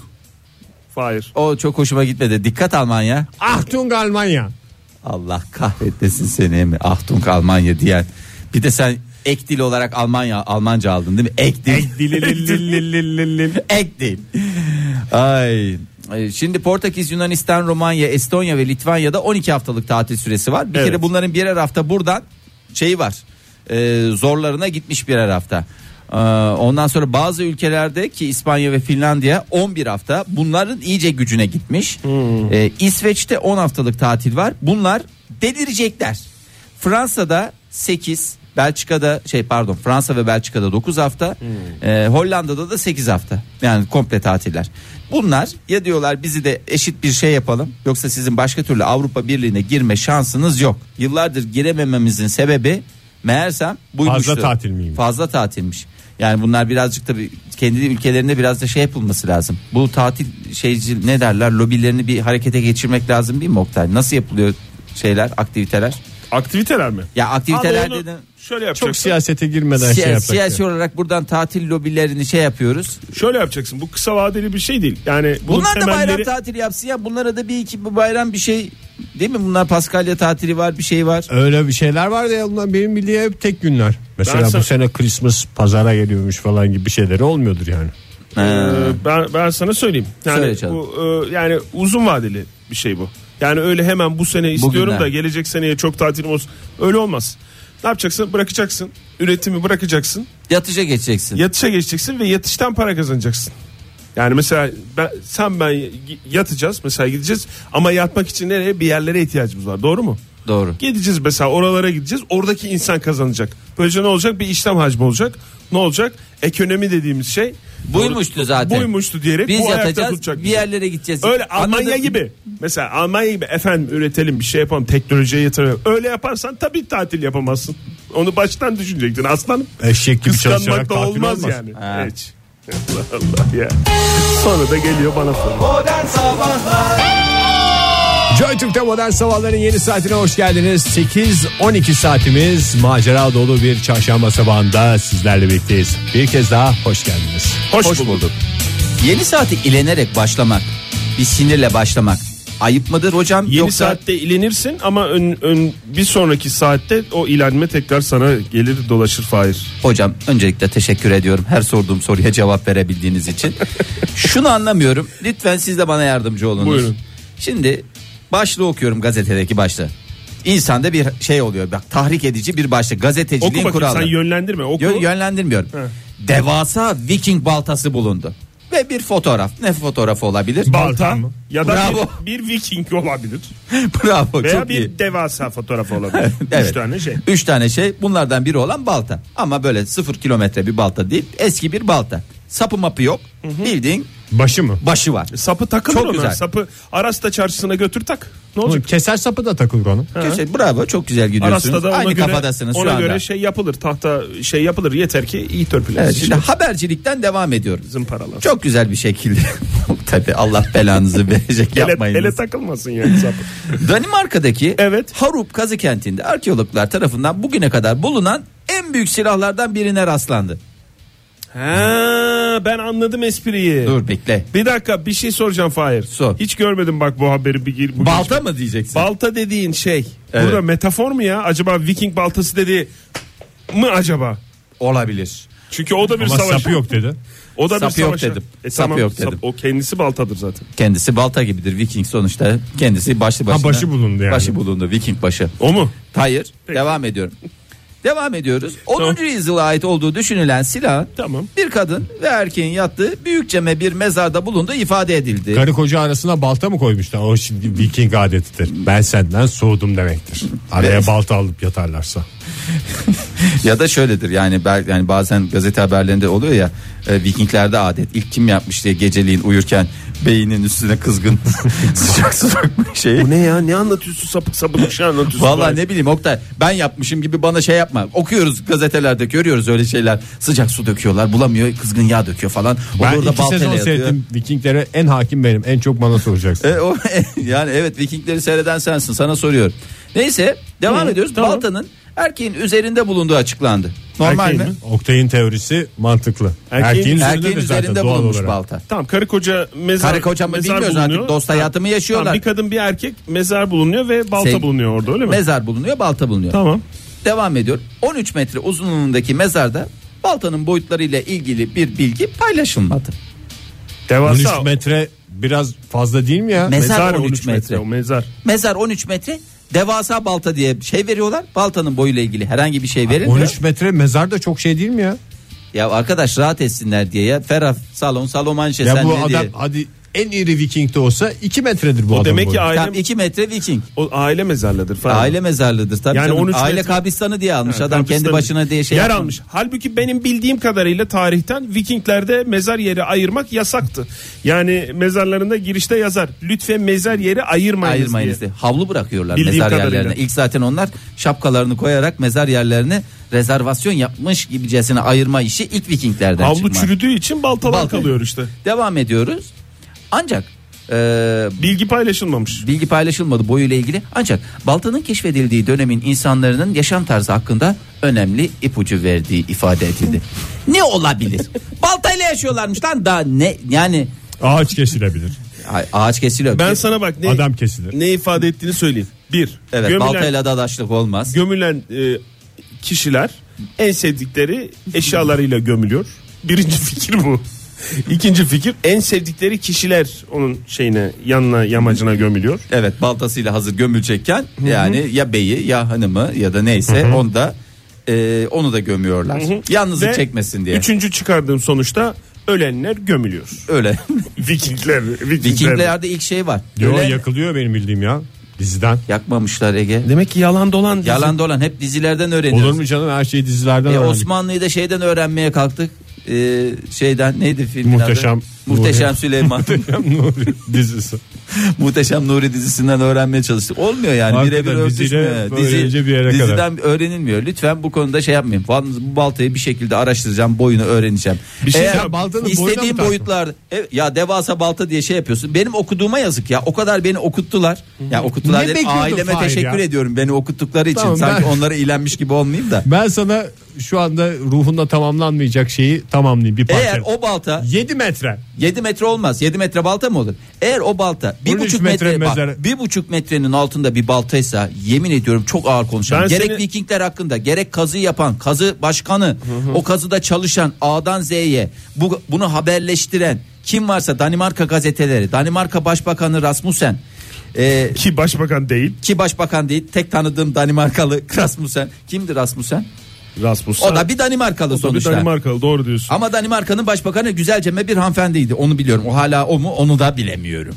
Speaker 4: Fahir.
Speaker 5: O çok hoşuma gitmedi. Dikkat Almanya.
Speaker 3: Achtung ah, Almanya.
Speaker 5: Allah kahretmesin seni mi? Ahtunk Almanya diyen. Bir de sen ek dil olarak Almanya Almanca aldın değil mi? Ek dil. ek dil. Ay. Ay, Şimdi Portekiz, Yunanistan, Romanya, Estonya ve Litvanya'da 12 haftalık tatil süresi var. Bir
Speaker 4: Evet.
Speaker 5: kere bunların birer hafta buradan şeyi var. Ee, zorlarına gitmiş birer hafta. Ee, ondan sonra bazı ülkelerde ki İspanya ve Finlandiya 11 hafta bunların iyice gücüne gitmiş. Ee, İsveç'te 10 haftalık tatil var. Bunlar delirecekler. Fransa'da 8, Belçika'da şey pardon Fransa ve Belçika'da 9 hafta. Ee, Hollanda'da da 8 hafta. Yani komple tatiller. Bunlar ya diyorlar bizi de eşit bir şey yapalım yoksa sizin başka türlü Avrupa Birliği'ne girme şansınız yok. Yıllardır giremememizin sebebi meğersem buymuştu.
Speaker 3: Fazla tatil miymiş?
Speaker 5: Fazla tatilmiş. Yani bunlar birazcık da bir- kendi ülkelerinde biraz da şey yapılması lazım. Bu tatil şeyci ne derler lobilerini bir harekete geçirmek lazım değil mi Oktay? Nasıl yapılıyor şeyler aktiviteler?
Speaker 4: Aktiviteler mi?
Speaker 5: Ya aktiviteler
Speaker 4: Abi onu
Speaker 5: dedim.
Speaker 4: Şöyle
Speaker 3: Çok
Speaker 4: yapacaksın.
Speaker 3: siyasete girmeden
Speaker 5: Siya-
Speaker 3: şey yapmak.
Speaker 5: siyasi olarak buradan tatil lobilerini şey yapıyoruz.
Speaker 4: Şöyle yapacaksın. Bu kısa vadeli bir şey değil. Yani bunun
Speaker 5: Bunlar da
Speaker 4: temelleri-
Speaker 5: bayram tatili yapsın ya. Bunlara da bir iki bu bayram bir şey değil mi? Bunlar Paskalya tatili var bir şey var.
Speaker 3: Öyle bir şeyler vardı ya bunlar benim bildiğim hep tek günler. Mesela
Speaker 4: sana-
Speaker 3: bu sene Christmas pazara geliyormuş falan gibi şeyleri olmuyordur yani.
Speaker 4: Ee, ben ben sana söyleyeyim. Yani
Speaker 5: Söyle canım.
Speaker 4: bu e, yani uzun vadeli bir şey bu. Yani öyle hemen bu sene istiyorum
Speaker 5: Bugünden.
Speaker 4: da gelecek seneye çok tatilim olsun. Öyle olmaz. Ne yapacaksın? Bırakacaksın. Üretimi bırakacaksın.
Speaker 5: Yatışa geçeceksin.
Speaker 4: Yatışa geçeceksin ve yatıştan para kazanacaksın. Yani mesela ben, sen ben y- yatacağız mesela gideceğiz ama yatmak için nereye bir yerlere ihtiyacımız var doğru mu?
Speaker 5: Doğru.
Speaker 4: Gideceğiz mesela oralara gideceğiz oradaki insan kazanacak. Böylece ne olacak bir işlem hacmi olacak ne olacak ekonomi dediğimiz şey.
Speaker 5: Buymuştu zaten.
Speaker 4: Buymuştu diyerek
Speaker 5: Biz
Speaker 4: bu ayakta
Speaker 5: yatacağız
Speaker 4: tutacak
Speaker 5: bir
Speaker 4: bizi.
Speaker 5: yerlere gideceğiz.
Speaker 4: Öyle Almanya
Speaker 5: Anladın mı?
Speaker 4: gibi. Mesela Almanya gibi efendim üretelim bir şey yapalım teknolojiye yatıralım. Öyle yaparsan tabii tatil yapamazsın. Onu baştan düşünecektin aslanım.
Speaker 3: Eşek gibi çalışarak
Speaker 4: Kıskanmak da
Speaker 3: tatil
Speaker 4: olmaz,
Speaker 3: olmaz.
Speaker 4: yani.
Speaker 5: Ha.
Speaker 4: Hiç. Allah ya. Sonra da geliyor bana fırın.
Speaker 2: Modern Sabahlar
Speaker 3: Joy Türk'te modern sabahların yeni saatine hoş geldiniz. 8-12 saatimiz macera dolu bir çarşamba sabahında sizlerle birlikteyiz. Bir kez daha hoş geldiniz.
Speaker 4: Hoş,
Speaker 5: Hoş
Speaker 4: bulduk.
Speaker 5: bulduk. Yeni saati ilenerek başlamak, bir sinirle başlamak ayıp mıdır hocam?
Speaker 4: Yeni
Speaker 5: Yoksa
Speaker 4: saatte ilenirsin ama ön, ön- bir sonraki saatte o ilenme tekrar sana gelir dolaşır Fahir.
Speaker 5: hocam öncelikle teşekkür ediyorum her sorduğum soruya cevap verebildiğiniz için. Şunu anlamıyorum. Lütfen siz de bana yardımcı olunuz.
Speaker 4: Buyurun.
Speaker 5: Şimdi başlığı okuyorum gazetedeki başlığı. İnsanda bir şey oluyor. Bak tahrik edici bir başlık.
Speaker 4: Oku
Speaker 5: Gazeteciliğin
Speaker 4: bakayım
Speaker 5: kuralı.
Speaker 4: sen yönlendirme oku.
Speaker 5: Yön- yönlendirmiyorum. Devasa Viking baltası bulundu. Ve bir fotoğraf. Ne fotoğrafı olabilir?
Speaker 4: Balta mı? ya da
Speaker 5: Bravo.
Speaker 4: bir, bir viking olabilir.
Speaker 5: Bravo.
Speaker 4: Veya
Speaker 5: çok
Speaker 4: bir
Speaker 5: iyi.
Speaker 4: devasa fotoğrafı olabilir.
Speaker 5: Evet.
Speaker 4: Üç tane şey.
Speaker 5: Üç tane şey. Bunlardan biri olan balta. Ama böyle sıfır kilometre bir balta değil. Eski bir balta. Sapı mapı yok. Bildiğin
Speaker 3: Başı mı?
Speaker 5: başı var.
Speaker 4: Sapı takılır
Speaker 5: Çok
Speaker 4: ona.
Speaker 5: güzel.
Speaker 4: Sapı Arasta çarşısına götür tak. Ne olacak?
Speaker 3: Keser sapı da takılır onun.
Speaker 5: Güzel, bravo çok güzel gidiyorsunuz.
Speaker 4: Arasta da ona
Speaker 5: Aynı
Speaker 4: göre,
Speaker 5: kafadasınız
Speaker 4: ona
Speaker 5: şu anda.
Speaker 4: göre şey yapılır. Tahta şey yapılır. Yeter ki iyi törpülensin.
Speaker 5: Evet, şimdi habercilikten devam ediyoruz.
Speaker 4: zımparalar.
Speaker 5: Çok güzel bir şekilde. Tabii Allah belanızı verecek
Speaker 4: ele,
Speaker 5: yapmayın.
Speaker 4: ele takılmasın yani sapı.
Speaker 5: Danimarka'daki
Speaker 4: Evet.
Speaker 5: Harup kazı kentinde arkeologlar tarafından bugüne kadar bulunan en büyük silahlardan birine rastlandı.
Speaker 4: Ha, ben anladım espriyi.
Speaker 5: Dur bekle.
Speaker 4: Bir dakika bir şey soracağım Fahir.
Speaker 5: Sor.
Speaker 4: Hiç görmedim bak bu haberi bir gir. bu
Speaker 5: Balta
Speaker 4: geçme.
Speaker 5: mı diyeceksin?
Speaker 4: Balta dediğin şey.
Speaker 5: Evet.
Speaker 4: Burada metafor mu ya? Acaba Viking baltası dediği mı acaba?
Speaker 5: Olabilir.
Speaker 4: Çünkü o da bir
Speaker 3: Ama
Speaker 4: savaş.
Speaker 3: sapı yok dedi.
Speaker 4: O da
Speaker 5: Sapı
Speaker 4: bir
Speaker 5: yok
Speaker 4: savaş.
Speaker 5: dedim.
Speaker 4: E,
Speaker 5: Sapı
Speaker 4: tamam,
Speaker 5: yok dedim.
Speaker 4: o kendisi baltadır zaten.
Speaker 5: Kendisi balta gibidir Viking sonuçta. Kendisi başlı başına.
Speaker 3: Ha, başı bulundu yani.
Speaker 5: Başı bulundu Viking başı.
Speaker 4: O mu?
Speaker 5: Hayır. Devam ediyorum. Devam ediyoruz. 10. yüzyıla ait olduğu düşünülen silah
Speaker 4: Tamam.
Speaker 5: bir kadın ve erkeğin yattığı büyükçeme bir mezarda bulunduğu ifade edildi.
Speaker 3: Karı koca arasına balta mı koymuşlar? O şimdi Viking adetidir. Ben senden soğudum demektir. Araya balta alıp yatarlarsa.
Speaker 5: Ya da şöyledir yani bel- yani bazen gazete haberlerinde oluyor ya e, Vikinglerde adet ilk kim yapmış diye geceliğin uyurken beynin üstüne kızgın sıcak sıcak bir şey.
Speaker 4: Bu ne ya? Ne anlatıyorsun sapık sapık bir şey anlatıyorsun.
Speaker 5: Vallahi
Speaker 4: Fahir.
Speaker 5: ne bileyim Oktay ben yapmışım gibi bana şey yapma. Okuyoruz gazetelerde görüyoruz öyle şeyler. Sıcak su döküyorlar bulamıyor kızgın yağ döküyor falan. O
Speaker 3: Ben
Speaker 5: da orada
Speaker 3: iki
Speaker 5: baltayla
Speaker 3: sezon
Speaker 5: yatıyor.
Speaker 3: seyrettim. Vikinglere en hakim benim. En çok bana soracaksın.
Speaker 5: E, o, yani evet Vikingleri seyreden sensin sana soruyorum. Neyse devam ediyoruz.
Speaker 4: tamam.
Speaker 5: Baltanın erkeğin üzerinde bulunduğu açıklandı. Normal
Speaker 4: Erkeğin
Speaker 5: mi?
Speaker 4: mi?
Speaker 3: Oktay'ın teorisi mantıklı.
Speaker 4: Erkeğin-
Speaker 3: Erkeğin, üzerinde, de
Speaker 5: Erkeğin
Speaker 3: zaten
Speaker 5: üzerinde
Speaker 3: doğal
Speaker 5: bulunmuş
Speaker 3: olarak.
Speaker 5: balta.
Speaker 4: Tamam karı koca mezar
Speaker 5: Karı koca mı
Speaker 4: mezar
Speaker 5: bilmiyoruz
Speaker 4: bulunuyor.
Speaker 5: artık dost hayatımı yaşıyorlar.
Speaker 4: Tamam, bir kadın bir erkek mezar bulunuyor ve balta
Speaker 5: Sev-
Speaker 4: bulunuyor orada öyle mi?
Speaker 5: Mezar bulunuyor balta bulunuyor.
Speaker 4: Tamam.
Speaker 5: Devam ediyor. 13 metre uzunluğundaki mezarda baltanın boyutlarıyla ilgili bir bilgi paylaşılmadı.
Speaker 4: Devasa
Speaker 3: 13 metre biraz fazla değil mi ya?
Speaker 5: Mezar
Speaker 4: mezar
Speaker 5: 13
Speaker 4: 13 metre.
Speaker 5: metre.
Speaker 4: O mezar.
Speaker 5: Mezar 13 metre devasa balta diye şey veriyorlar. Baltanın boyuyla ilgili herhangi bir şey verilmiyor.
Speaker 3: 13 metre mezar da çok şey değil mi ya?
Speaker 5: Ya arkadaş rahat etsinler diye ya. Ferah salon salomanşe
Speaker 3: Ya
Speaker 5: E sen
Speaker 3: bu
Speaker 5: ne
Speaker 3: adam
Speaker 5: diye.
Speaker 3: hadi en iri Viking de olsa 2 metredir bu
Speaker 4: O
Speaker 3: adam.
Speaker 4: demek ki
Speaker 3: boyu.
Speaker 4: aile,
Speaker 5: Tam 2 metre viking.
Speaker 4: o aile mezarladır falan.
Speaker 5: Aile mezarlığıdır tabii.
Speaker 4: Yani
Speaker 5: canım.
Speaker 4: 13
Speaker 5: aile
Speaker 4: metre-
Speaker 5: kabristanı diye almış
Speaker 4: Ha,
Speaker 5: adam kendi
Speaker 4: Kıbrıs'ta
Speaker 5: başına diye şey
Speaker 4: yer
Speaker 5: yapmış.
Speaker 4: almış. Halbuki benim bildiğim kadarıyla tarihten Vikinglerde mezar yeri ayırmak yasaktı. Yani mezarlarında girişte yazar. Lütfen mezar yeri ayırmayınız,
Speaker 5: Ayırmayınız
Speaker 4: diye.
Speaker 5: diye. Havlu bırakıyorlar
Speaker 4: Bildiğim
Speaker 5: mezar
Speaker 4: kadarıyla.
Speaker 5: yerlerine. İlk zaten onlar şapkalarını koyarak mezar yerlerini rezervasyon yapmış gibicesine ayırma işi ilk Vikinglerden
Speaker 4: Havlu
Speaker 5: çıkma.
Speaker 4: çürüdüğü için baltalar
Speaker 5: Balta.
Speaker 4: kalıyor işte.
Speaker 5: Devam ediyoruz. Ancak e,
Speaker 4: Bilgi paylaşılmamış.
Speaker 5: bilgi paylaşılmadı boyuyla ilgili. Ancak baltanın keşfedildiği dönemin insanların yaşam tarzı hakkında önemli ipucu verdiği ifade edildi. ne olabilir? Baltayla yaşıyorlarmış lan daha ne yani
Speaker 3: ağaç kesilebilir.
Speaker 5: a- ağaç kesiliyor.
Speaker 4: Ben
Speaker 5: Ki-
Speaker 4: sana bak ne,
Speaker 3: adam kesilir.
Speaker 4: ne ifade ettiğini söyleyeyim. Bir,
Speaker 5: Evet
Speaker 4: gömülen,
Speaker 5: baltayla dadaşlık olmaz.
Speaker 4: gömülen e, kişiler en sevdikleri eşyalarıyla gömülüyor. Birinci fikir bu. İkinci fikir en sevdikleri kişiler onun şeyine yanına yamacına gömülüyor.
Speaker 5: evet baltasıyla hazır gömülecekken yani ya beyi ya hanımı ya da neyse onu da e, onu da gömüyorlar. Yalnızlık
Speaker 4: Ve
Speaker 5: çekmesin diye.
Speaker 4: Üçüncü çıkardığım sonuçta ölenler gömülüyor.
Speaker 5: Öyle.
Speaker 4: Vikingler, Vikingler.
Speaker 5: Vikinglerde ilk şey var.
Speaker 3: Yo,
Speaker 5: Öyle
Speaker 3: yakılıyor benim bildiğim ya diziden.
Speaker 5: yakmamışlar Ege.
Speaker 4: Demek ki yalan dolan. dizi.
Speaker 5: Yalan dolan hep dizilerden öğreniyoruz.
Speaker 3: Olur mu canım her şeyi dizilerden
Speaker 5: E,
Speaker 3: öğrendik.
Speaker 5: Osmanlı'yı da Ee, şeyden öğrenmeye kalktık. E, şeyden neydi filmin adı?
Speaker 3: Muhteşem
Speaker 5: Muhteşem Süleyman.
Speaker 4: Nuri dizisi.
Speaker 5: Muhteşem Nuri dizisinden öğrenmeye çalıştık. Olmuyor yani
Speaker 6: Hakikaten
Speaker 5: birebir
Speaker 6: diziyle
Speaker 5: örtüşmüyor.
Speaker 6: böylece bir yere kadar.
Speaker 5: diziden öğrenilmiyor. Lütfen bu konuda şey yapmayın. Yalnız Bu baltayı bir şekilde araştıracağım, boyunu öğreneceğim.
Speaker 6: Bir şey
Speaker 5: Eğer
Speaker 6: ya, baltanın boyuna mı
Speaker 5: istediğim
Speaker 6: taktın?
Speaker 5: boyutlar E, ya devasa balta diye şey yapıyorsun. Benim okuduğuma yazık ya. O kadar beni okuttular. Ya okuttular
Speaker 6: Ne
Speaker 5: dedim,
Speaker 6: bekliyordun
Speaker 5: aileme
Speaker 6: Fahir
Speaker 5: teşekkür
Speaker 6: ya?
Speaker 5: ediyorum beni okuttukları için.
Speaker 6: Tamam,
Speaker 5: Sanki
Speaker 6: ben-
Speaker 5: onlara ilenmiş gibi olmayayım da.
Speaker 6: Ben sana şu anda ruhunda tamamlanmayacak şeyi tamamlayayım bir parça.
Speaker 5: Eğer E, o balta
Speaker 6: 7 metre.
Speaker 5: 7 metre olmaz. 7 metre balta mı olur? Eğer o balta 1,5
Speaker 6: metre
Speaker 5: metre, bak,
Speaker 6: mezarı.
Speaker 5: bir buçuk metrenin altında bir baltaysa yemin ediyorum çok ağır konuşuyorum.
Speaker 4: Ben
Speaker 5: gerek
Speaker 4: seni-
Speaker 5: Vikingler hakkında, gerek kazı yapan, kazı başkanı, o kazıda çalışan A'dan Z'ye bu, bunu haberleştiren kim varsa Danimarka gazeteleri, Danimarka Başbakanı Rasmussen e,
Speaker 4: Ki başbakan değil.
Speaker 5: ki başbakan değil tek tanıdığım Danimarkalı Rasmussen. Kimdi Rasmussen?
Speaker 4: Rasmussen.
Speaker 5: O da bir Danimarkalı
Speaker 4: Tabii
Speaker 5: sonuçta.
Speaker 4: Danimarkalı doğru diyorsun.
Speaker 5: Ama Danimarka'nın başbakanı güzelceme bir hanımefendiydi. Onu biliyorum. O hala o mu onu da bilemiyorum.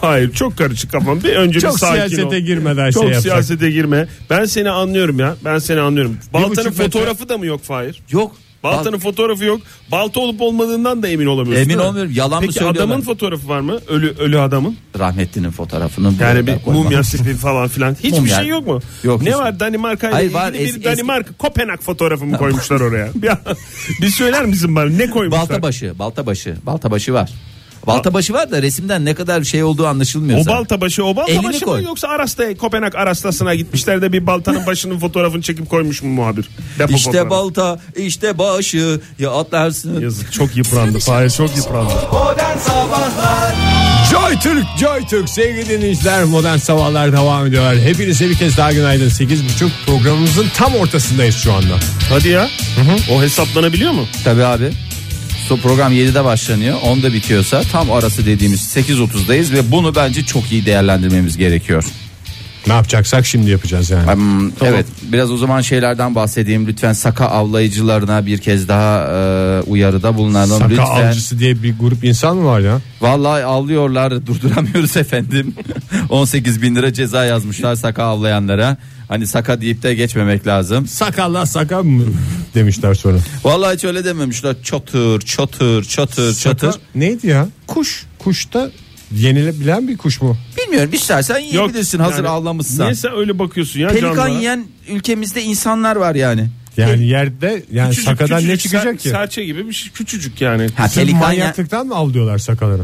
Speaker 4: Hayır çok karışık kafam. Bir önce
Speaker 6: Çok
Speaker 4: bir sakin
Speaker 6: siyasete
Speaker 4: ol.
Speaker 6: girmeden
Speaker 4: Çok
Speaker 6: şey yapsak.
Speaker 4: siyasete girme. Ben seni anlıyorum ya. Ben seni anlıyorum. Baltanın
Speaker 6: buçuk metre-
Speaker 4: fotoğrafı da mı yok Fahir?
Speaker 5: Yok.
Speaker 4: Baltanın fotoğrafı yok. Balta olup olmadığından da emin olamıyorsun.
Speaker 5: Emin
Speaker 4: değil mi?
Speaker 5: olmuyorum. Yalan mı
Speaker 4: Peki
Speaker 5: söylüyorlar?
Speaker 4: adamın fotoğrafı var mı? Ölü ölü adamın.
Speaker 5: rahmetlinin fotoğrafının
Speaker 4: Yani
Speaker 5: buraya
Speaker 4: bir
Speaker 5: koymadım.
Speaker 4: mumya sifil falan filan. Hiçbir
Speaker 5: Mumya.
Speaker 4: şey yok mu?
Speaker 5: Yok,
Speaker 4: Ne
Speaker 5: hiç-
Speaker 4: var Danimarka ile
Speaker 5: Hayır,
Speaker 4: ilgili
Speaker 5: var.
Speaker 4: bir
Speaker 5: Es- es-
Speaker 4: Danimarka Kopenhag fotoğrafı mı koymuşlar oraya? Bir, bir söyler misin bana ne koymuşlar?
Speaker 5: Baltabaşı, Baltabaşı, Baltabaşı var. Baltabaşı var da resimden ne kadar şey olduğu anlaşılmıyor.
Speaker 4: O
Speaker 5: zaten.
Speaker 4: balta başı o balta
Speaker 5: Elini
Speaker 4: başı
Speaker 5: koy.
Speaker 4: mı yoksa Arasta Kopenhag Arastası'na gitmişler de bir baltanın başının fotoğrafını çekip koymuş mu muhabir? Depo
Speaker 5: İşte
Speaker 4: fotoğrafı.
Speaker 5: balta, işte başı ya atlarsın.
Speaker 4: Yazık çok yıprandı. Fahir çok yıprandı.
Speaker 2: Modern Sabahlar
Speaker 3: Joy Türk, Joy Türk sevgili dinleyiciler modern sabahlar devam ediyor. Hepinize bir kez daha günaydın. 8.30 programımızın tam ortasındayız şu anda.
Speaker 4: Hadi ya. O hesaplanabiliyor mu?
Speaker 5: Tabii abi. So program 7'de başlanıyor. 10'da bitiyorsa tam arası dediğimiz 8.30'dayız ve bunu bence çok iyi değerlendirmemiz gerekiyor.
Speaker 3: Ne yapacaksak şimdi yapacağız yani.
Speaker 5: Hmm, Evet biraz o zaman şeylerden bahsedeyim lütfen saka avlayıcılarına bir kez daha e, uyarıda bulunalım
Speaker 3: Saka
Speaker 5: lütfen.
Speaker 3: avcısı diye bir grup insan mı var ya?
Speaker 5: Vallahi avlıyorlar durduramıyoruz efendim 18 bin lira ceza yazmışlar saka avlayanlara hani saka deyip de geçmemek lazım
Speaker 3: Sakalla saka mı demişler sonra.
Speaker 5: Vallahi hiç öyle dememişler çatır çatır çatır çatır
Speaker 3: Saka neydi ya?
Speaker 5: kuş
Speaker 3: Kuşta yenilebilen bir kuş mu?
Speaker 5: bilmiyorum istersen yiyebilirsin hazır
Speaker 4: yani
Speaker 5: avlamışsan
Speaker 4: Niye sen öyle bakıyorsun ya
Speaker 5: pelikan
Speaker 4: canlılara?
Speaker 5: yiyen ülkemizde insanlar var yani
Speaker 3: Yani yerde yani
Speaker 4: Küçücük,
Speaker 3: sakadan ne
Speaker 4: küçücük, ser-
Speaker 3: çıkacak ki?
Speaker 4: Serçe gibi bir şey küçücük yani.
Speaker 5: ha,
Speaker 3: Sırf
Speaker 5: pelikan yiyen-
Speaker 3: manyaklıktan mı avlıyorlar sakaları?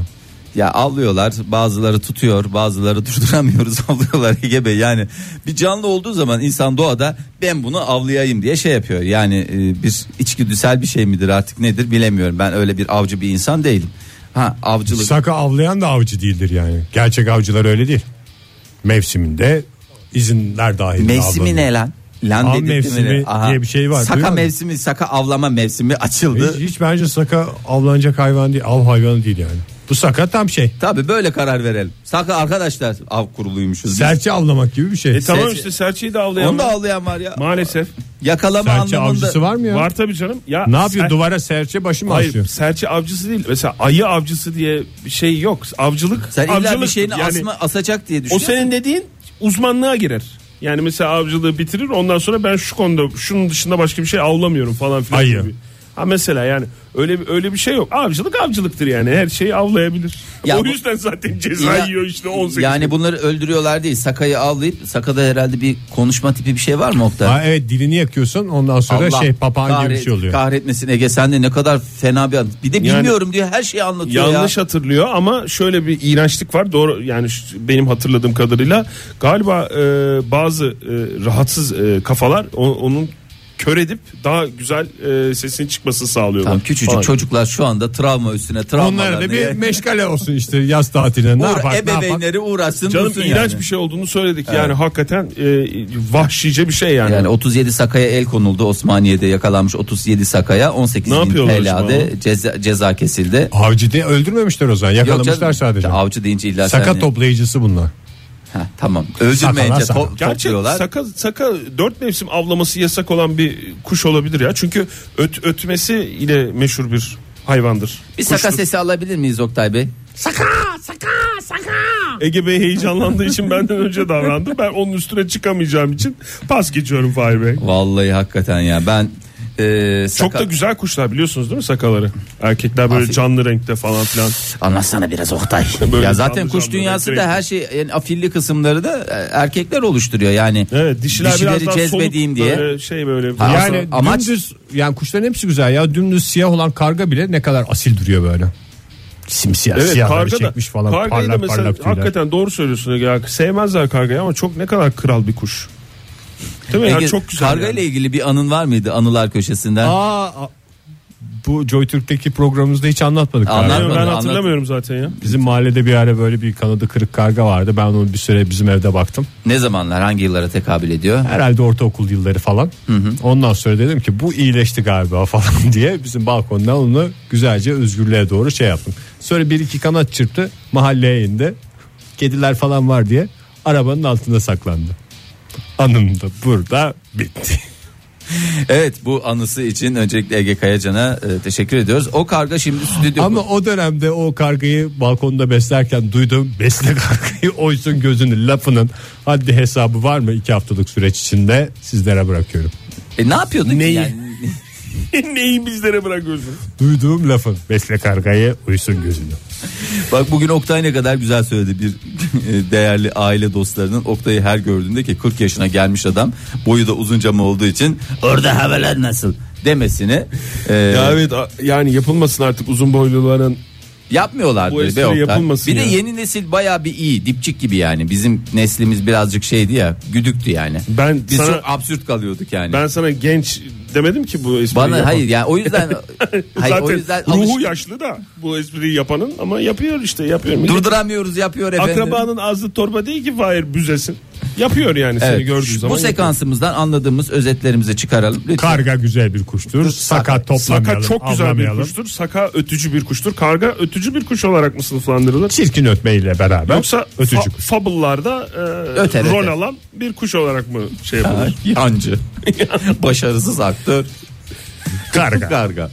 Speaker 5: Ya avlıyorlar bazıları tutuyor bazıları durduramıyoruz avlıyorlar Ege Bey yani bir canlı olduğu zaman insan doğada ben bunu avlayayım diye şey yapıyor yani e, bir içgüdüsel bir şey midir artık nedir bilemiyorum ben öyle bir avcı bir insan değilim. Ha avcılık
Speaker 3: Saka avlayan da avcı değildir yani. Gerçek avcılar öyle değil. Mevsiminde izinler dahil.
Speaker 5: mevsimi ne lan? Lan
Speaker 3: Av
Speaker 5: dedirtti mi
Speaker 3: mevsimi
Speaker 5: ne? Aha.
Speaker 3: diye bir şey var,
Speaker 5: Saka
Speaker 3: duyuyor musun?
Speaker 5: mevsimi saka avlama mevsimi açıldı.
Speaker 3: Hiç, hiç bence saka avlanacak hayvan değil. Av hayvanı değil yani. Bu saka tam şey.
Speaker 5: Tabii böyle karar verelim. Saka arkadaşlar av kuruluymuşuz. biz.
Speaker 3: Serçe avlamak gibi bir şey.
Speaker 4: E tamam
Speaker 5: Serçe-
Speaker 4: işte serçeyi de avlayan.
Speaker 5: Onu da
Speaker 4: var.
Speaker 5: avlayan var ya.
Speaker 4: Maalesef.
Speaker 5: Yakalama
Speaker 3: serçe
Speaker 5: anlamında.
Speaker 3: avcısı var mı ya?
Speaker 4: Var tabii canım. Ya
Speaker 3: Ne yapıyor
Speaker 4: ser-
Speaker 3: duvara serçe başı mı
Speaker 4: Hayır
Speaker 3: asıyor?
Speaker 4: serçe avcısı değil. Mesela ayı avcısı diye bir şey yok. Avcılık
Speaker 5: Sen illa bir
Speaker 4: avcılık.
Speaker 5: şeyini
Speaker 4: yani,
Speaker 5: asma, asacak diye
Speaker 4: O
Speaker 5: düşünüyorsun.
Speaker 4: senin dediğin uzmanlığa girer. Yani mesela avcılığı bitirir ondan sonra ben şu konuda şunun dışında başka bir şey avlamıyorum falan filan
Speaker 3: Ayı.
Speaker 4: gibi. Ha mesela yani öyle bir- öyle bir şey yok. Avcılık avcılıktır yani. Her şeyi avlayabilir.
Speaker 5: Ya
Speaker 4: o
Speaker 5: bu-
Speaker 4: yüzden zaten ceza
Speaker 5: Ya-
Speaker 4: yiyor işte 18.
Speaker 5: Yani bunları öldürüyorlar değil. Sakayı avlayıp sakada herhalde bir konuşma tipi bir şey var mı Oktay?
Speaker 3: Ha, evet dilini yakıyorsun ondan sonra
Speaker 5: Allah
Speaker 3: şey papağan gibi bir şey
Speaker 5: kahret-
Speaker 3: oluyor.
Speaker 5: Kahretmesin Ege sen de ne kadar fena bir an. Bir de
Speaker 4: Yani-
Speaker 5: bilmiyorum diyor her şeyi anlatıyor
Speaker 4: Yanlış
Speaker 5: ya.
Speaker 4: hatırlıyor ama şöyle bir iğrençlik var. Doğru yani şu- benim hatırladığım kadarıyla galiba e, bazı e, rahatsız e, kafalar o- onun kör edip daha güzel e, sesinin çıkmasını sağlıyorlar.
Speaker 5: Tam küçücük
Speaker 4: Falan.
Speaker 5: çocuklar şu anda travma üstüne
Speaker 3: Onlara da
Speaker 5: travmalarını.
Speaker 3: bir
Speaker 5: ya.
Speaker 3: meşgale olsun işte yaz tatiline. Ne
Speaker 5: Uğra-
Speaker 3: yapar, ne yapar?
Speaker 5: ebeveynleri uğraşsın
Speaker 4: Canım
Speaker 5: dursun
Speaker 4: iğrenç
Speaker 5: yani.
Speaker 4: bir şey olduğunu söyledik. Yani hakikaten e, vahşice bir şey yani.
Speaker 5: Yani 37 sakaya el konuldu Osmaniye'de yakalanmış 37 sakaya 18
Speaker 4: Ne
Speaker 5: bin
Speaker 4: yapıyorlar acaba?
Speaker 5: TL'de ceza, ceza kesildi.
Speaker 3: Avcı diye öldürmemişler o zaman yakalamışlar
Speaker 5: Yok canım,
Speaker 3: sadece.
Speaker 5: Avcı deyince illa
Speaker 3: Saka
Speaker 5: sen-
Speaker 3: toplayıcısı bunlar.
Speaker 5: Ha, tamam. Öldürmeyince
Speaker 3: Sakalar
Speaker 5: to-
Speaker 3: saka.
Speaker 4: Gerçi
Speaker 5: topluyorlar.
Speaker 4: saka, saka dört mevsim avlaması yasak olan bir kuş olabilir ya. Çünkü öt, ötmesi ile meşhur bir hayvandır.
Speaker 5: bir
Speaker 4: Kuştur.
Speaker 5: saka sesi alabilir miyiz Oktay Bey?
Speaker 4: Ege Bey heyecanlandığı için benden önce davrandı. Ben onun üstüne çıkamayacağım için pas geçiyorum Fahir Bey.
Speaker 5: Vallahi hakikaten ya ben e,
Speaker 4: Çok
Speaker 5: sakal-
Speaker 4: da güzel kuşlar biliyorsunuz değil mi sakaları? Erkekler böyle
Speaker 5: Afiyet.
Speaker 4: canlı renkte falan filan.
Speaker 5: Anlatsana biraz Oktay.
Speaker 4: Böyle
Speaker 5: ya zaten
Speaker 4: canlı
Speaker 5: kuş
Speaker 4: canlı
Speaker 5: dünyası da
Speaker 4: renkli
Speaker 5: her şey yani afilli kısımları da e, erkekler oluşturuyor yani.
Speaker 4: Evet dişiler
Speaker 5: dişileri
Speaker 4: biraz daha
Speaker 5: cezbedeyim
Speaker 4: soluk
Speaker 5: diye.
Speaker 4: böyle şey böyle.
Speaker 5: Ha,
Speaker 4: Ya-
Speaker 3: Yani
Speaker 5: Aslında amaç-
Speaker 3: dümdüz yani kuşların hepsi güzel ya dümdüz siyah olan karga bile ne kadar asil duruyor böyle. Simsiyah
Speaker 4: Evet
Speaker 3: siyah
Speaker 4: karga da
Speaker 3: çekmiş falan
Speaker 4: kargayı da
Speaker 3: parlak
Speaker 4: mesela
Speaker 3: parlak tüyler.
Speaker 4: hakikaten doğru söylüyorsun. Ya, sevmezler kargayı ama çok ne kadar kral bir kuş. Değil mi? Ya,
Speaker 5: Ege,
Speaker 4: çok güzel.
Speaker 5: karga
Speaker 4: yani.
Speaker 5: ile ilgili bir anın var mıydı anılar köşesinden?
Speaker 3: Aa, a- bu JoyTürk'teki programımızda hiç anlatmadık. galiba.
Speaker 5: Anlat-
Speaker 4: Yani ben
Speaker 5: Anlat-
Speaker 4: hatırlamıyorum zaten ya.
Speaker 3: Bizim mahallede bir ara böyle bir kanadı kırık karga vardı. Ben onu bir süre bizim evde baktım.
Speaker 5: Ne zamanlar hangi yıllara tekabül ediyor?
Speaker 3: Herhalde ortaokul yılları falan. Ondan sonra dedim ki bu iyileşti galiba falan diye bizim balkondan onu güzelce özgürlüğe doğru şey yaptım. Sonra bir iki kanat çırptı mahalleye indi. Kediler falan var diye arabanın altında saklandı. Anım da burada bitti.
Speaker 5: Evet bu anısı için öncelikle Ege Kayacan'a e, teşekkür ediyoruz. O karga şimdi stüdyo.
Speaker 3: Ama o dönemde o kargayı balkonda beslerken duydum. Besle kargayı oysun gözünü lafının haddi hesabı var mı iki haftalık süreç içinde sizlere bırakıyorum.
Speaker 5: E, ne yapıyordun ki
Speaker 3: Neyi?
Speaker 5: yani?
Speaker 4: Neyi bizlere bırakıyorsun?
Speaker 3: Duyduğum lafın besle kargayı uysun gözünü.
Speaker 5: Bak bugün Oktay ne kadar güzel söyledi bir e, değerli aile dostlarının Oktay'ı her gördüğünde ki 40 yaşına gelmiş adam boyu da uzunca mı olduğu için orada havalar nasıl demesini e,
Speaker 4: Ya evet a- yani yapılmasın artık uzun boyluların
Speaker 5: yapmıyorlardı
Speaker 4: Bu
Speaker 5: be
Speaker 4: espri
Speaker 5: Oktay.
Speaker 4: yapılmasın
Speaker 5: Bir de
Speaker 4: ya.
Speaker 5: yeni nesil baya bir iyi dipçik gibi yani bizim neslimiz birazcık şeydi ya güdüktü yani.
Speaker 4: Ben
Speaker 5: Biz
Speaker 4: sana-
Speaker 5: çok absürt kalıyorduk yani.
Speaker 4: Ben sana genç demedim ki bu espriyi
Speaker 5: Bana
Speaker 4: yapan.
Speaker 5: hayır yani o yüzden hayır,
Speaker 4: Zaten
Speaker 5: o yüzden
Speaker 4: ruhu
Speaker 5: alış-
Speaker 4: yaşlı da bu espriyi yapanın ama yapıyor işte yapıyor. Millet-
Speaker 5: durduramıyoruz yapıyor efendim.
Speaker 4: Akrabanın ağzı torba değil ki Fahir büzesin. Yapıyor yani seni
Speaker 5: Evet.
Speaker 4: gördüğü zaman.
Speaker 5: Bu sekansımızdan anladığımız özetlerimizi çıkaralım. Lütfen.
Speaker 3: Karga güzel bir kuştur. Sakat toplamayalım.
Speaker 4: Saka çok güzel bir
Speaker 3: avlamayalım.
Speaker 4: kuştur. Saka ötücü bir kuştur. Karga ötücü bir kuş olarak mı sınıflandırılır?
Speaker 3: Çirkin ötmeyle beraber.
Speaker 4: Yoksa
Speaker 3: ötücü
Speaker 4: fa-
Speaker 3: kuş.
Speaker 4: fable'larda e,
Speaker 5: Öter,
Speaker 4: rol
Speaker 5: öter.
Speaker 4: alan bir kuş olarak mı şey yapılır?
Speaker 5: Yancı. Başarısız aktör.
Speaker 3: Karga.
Speaker 5: Karga.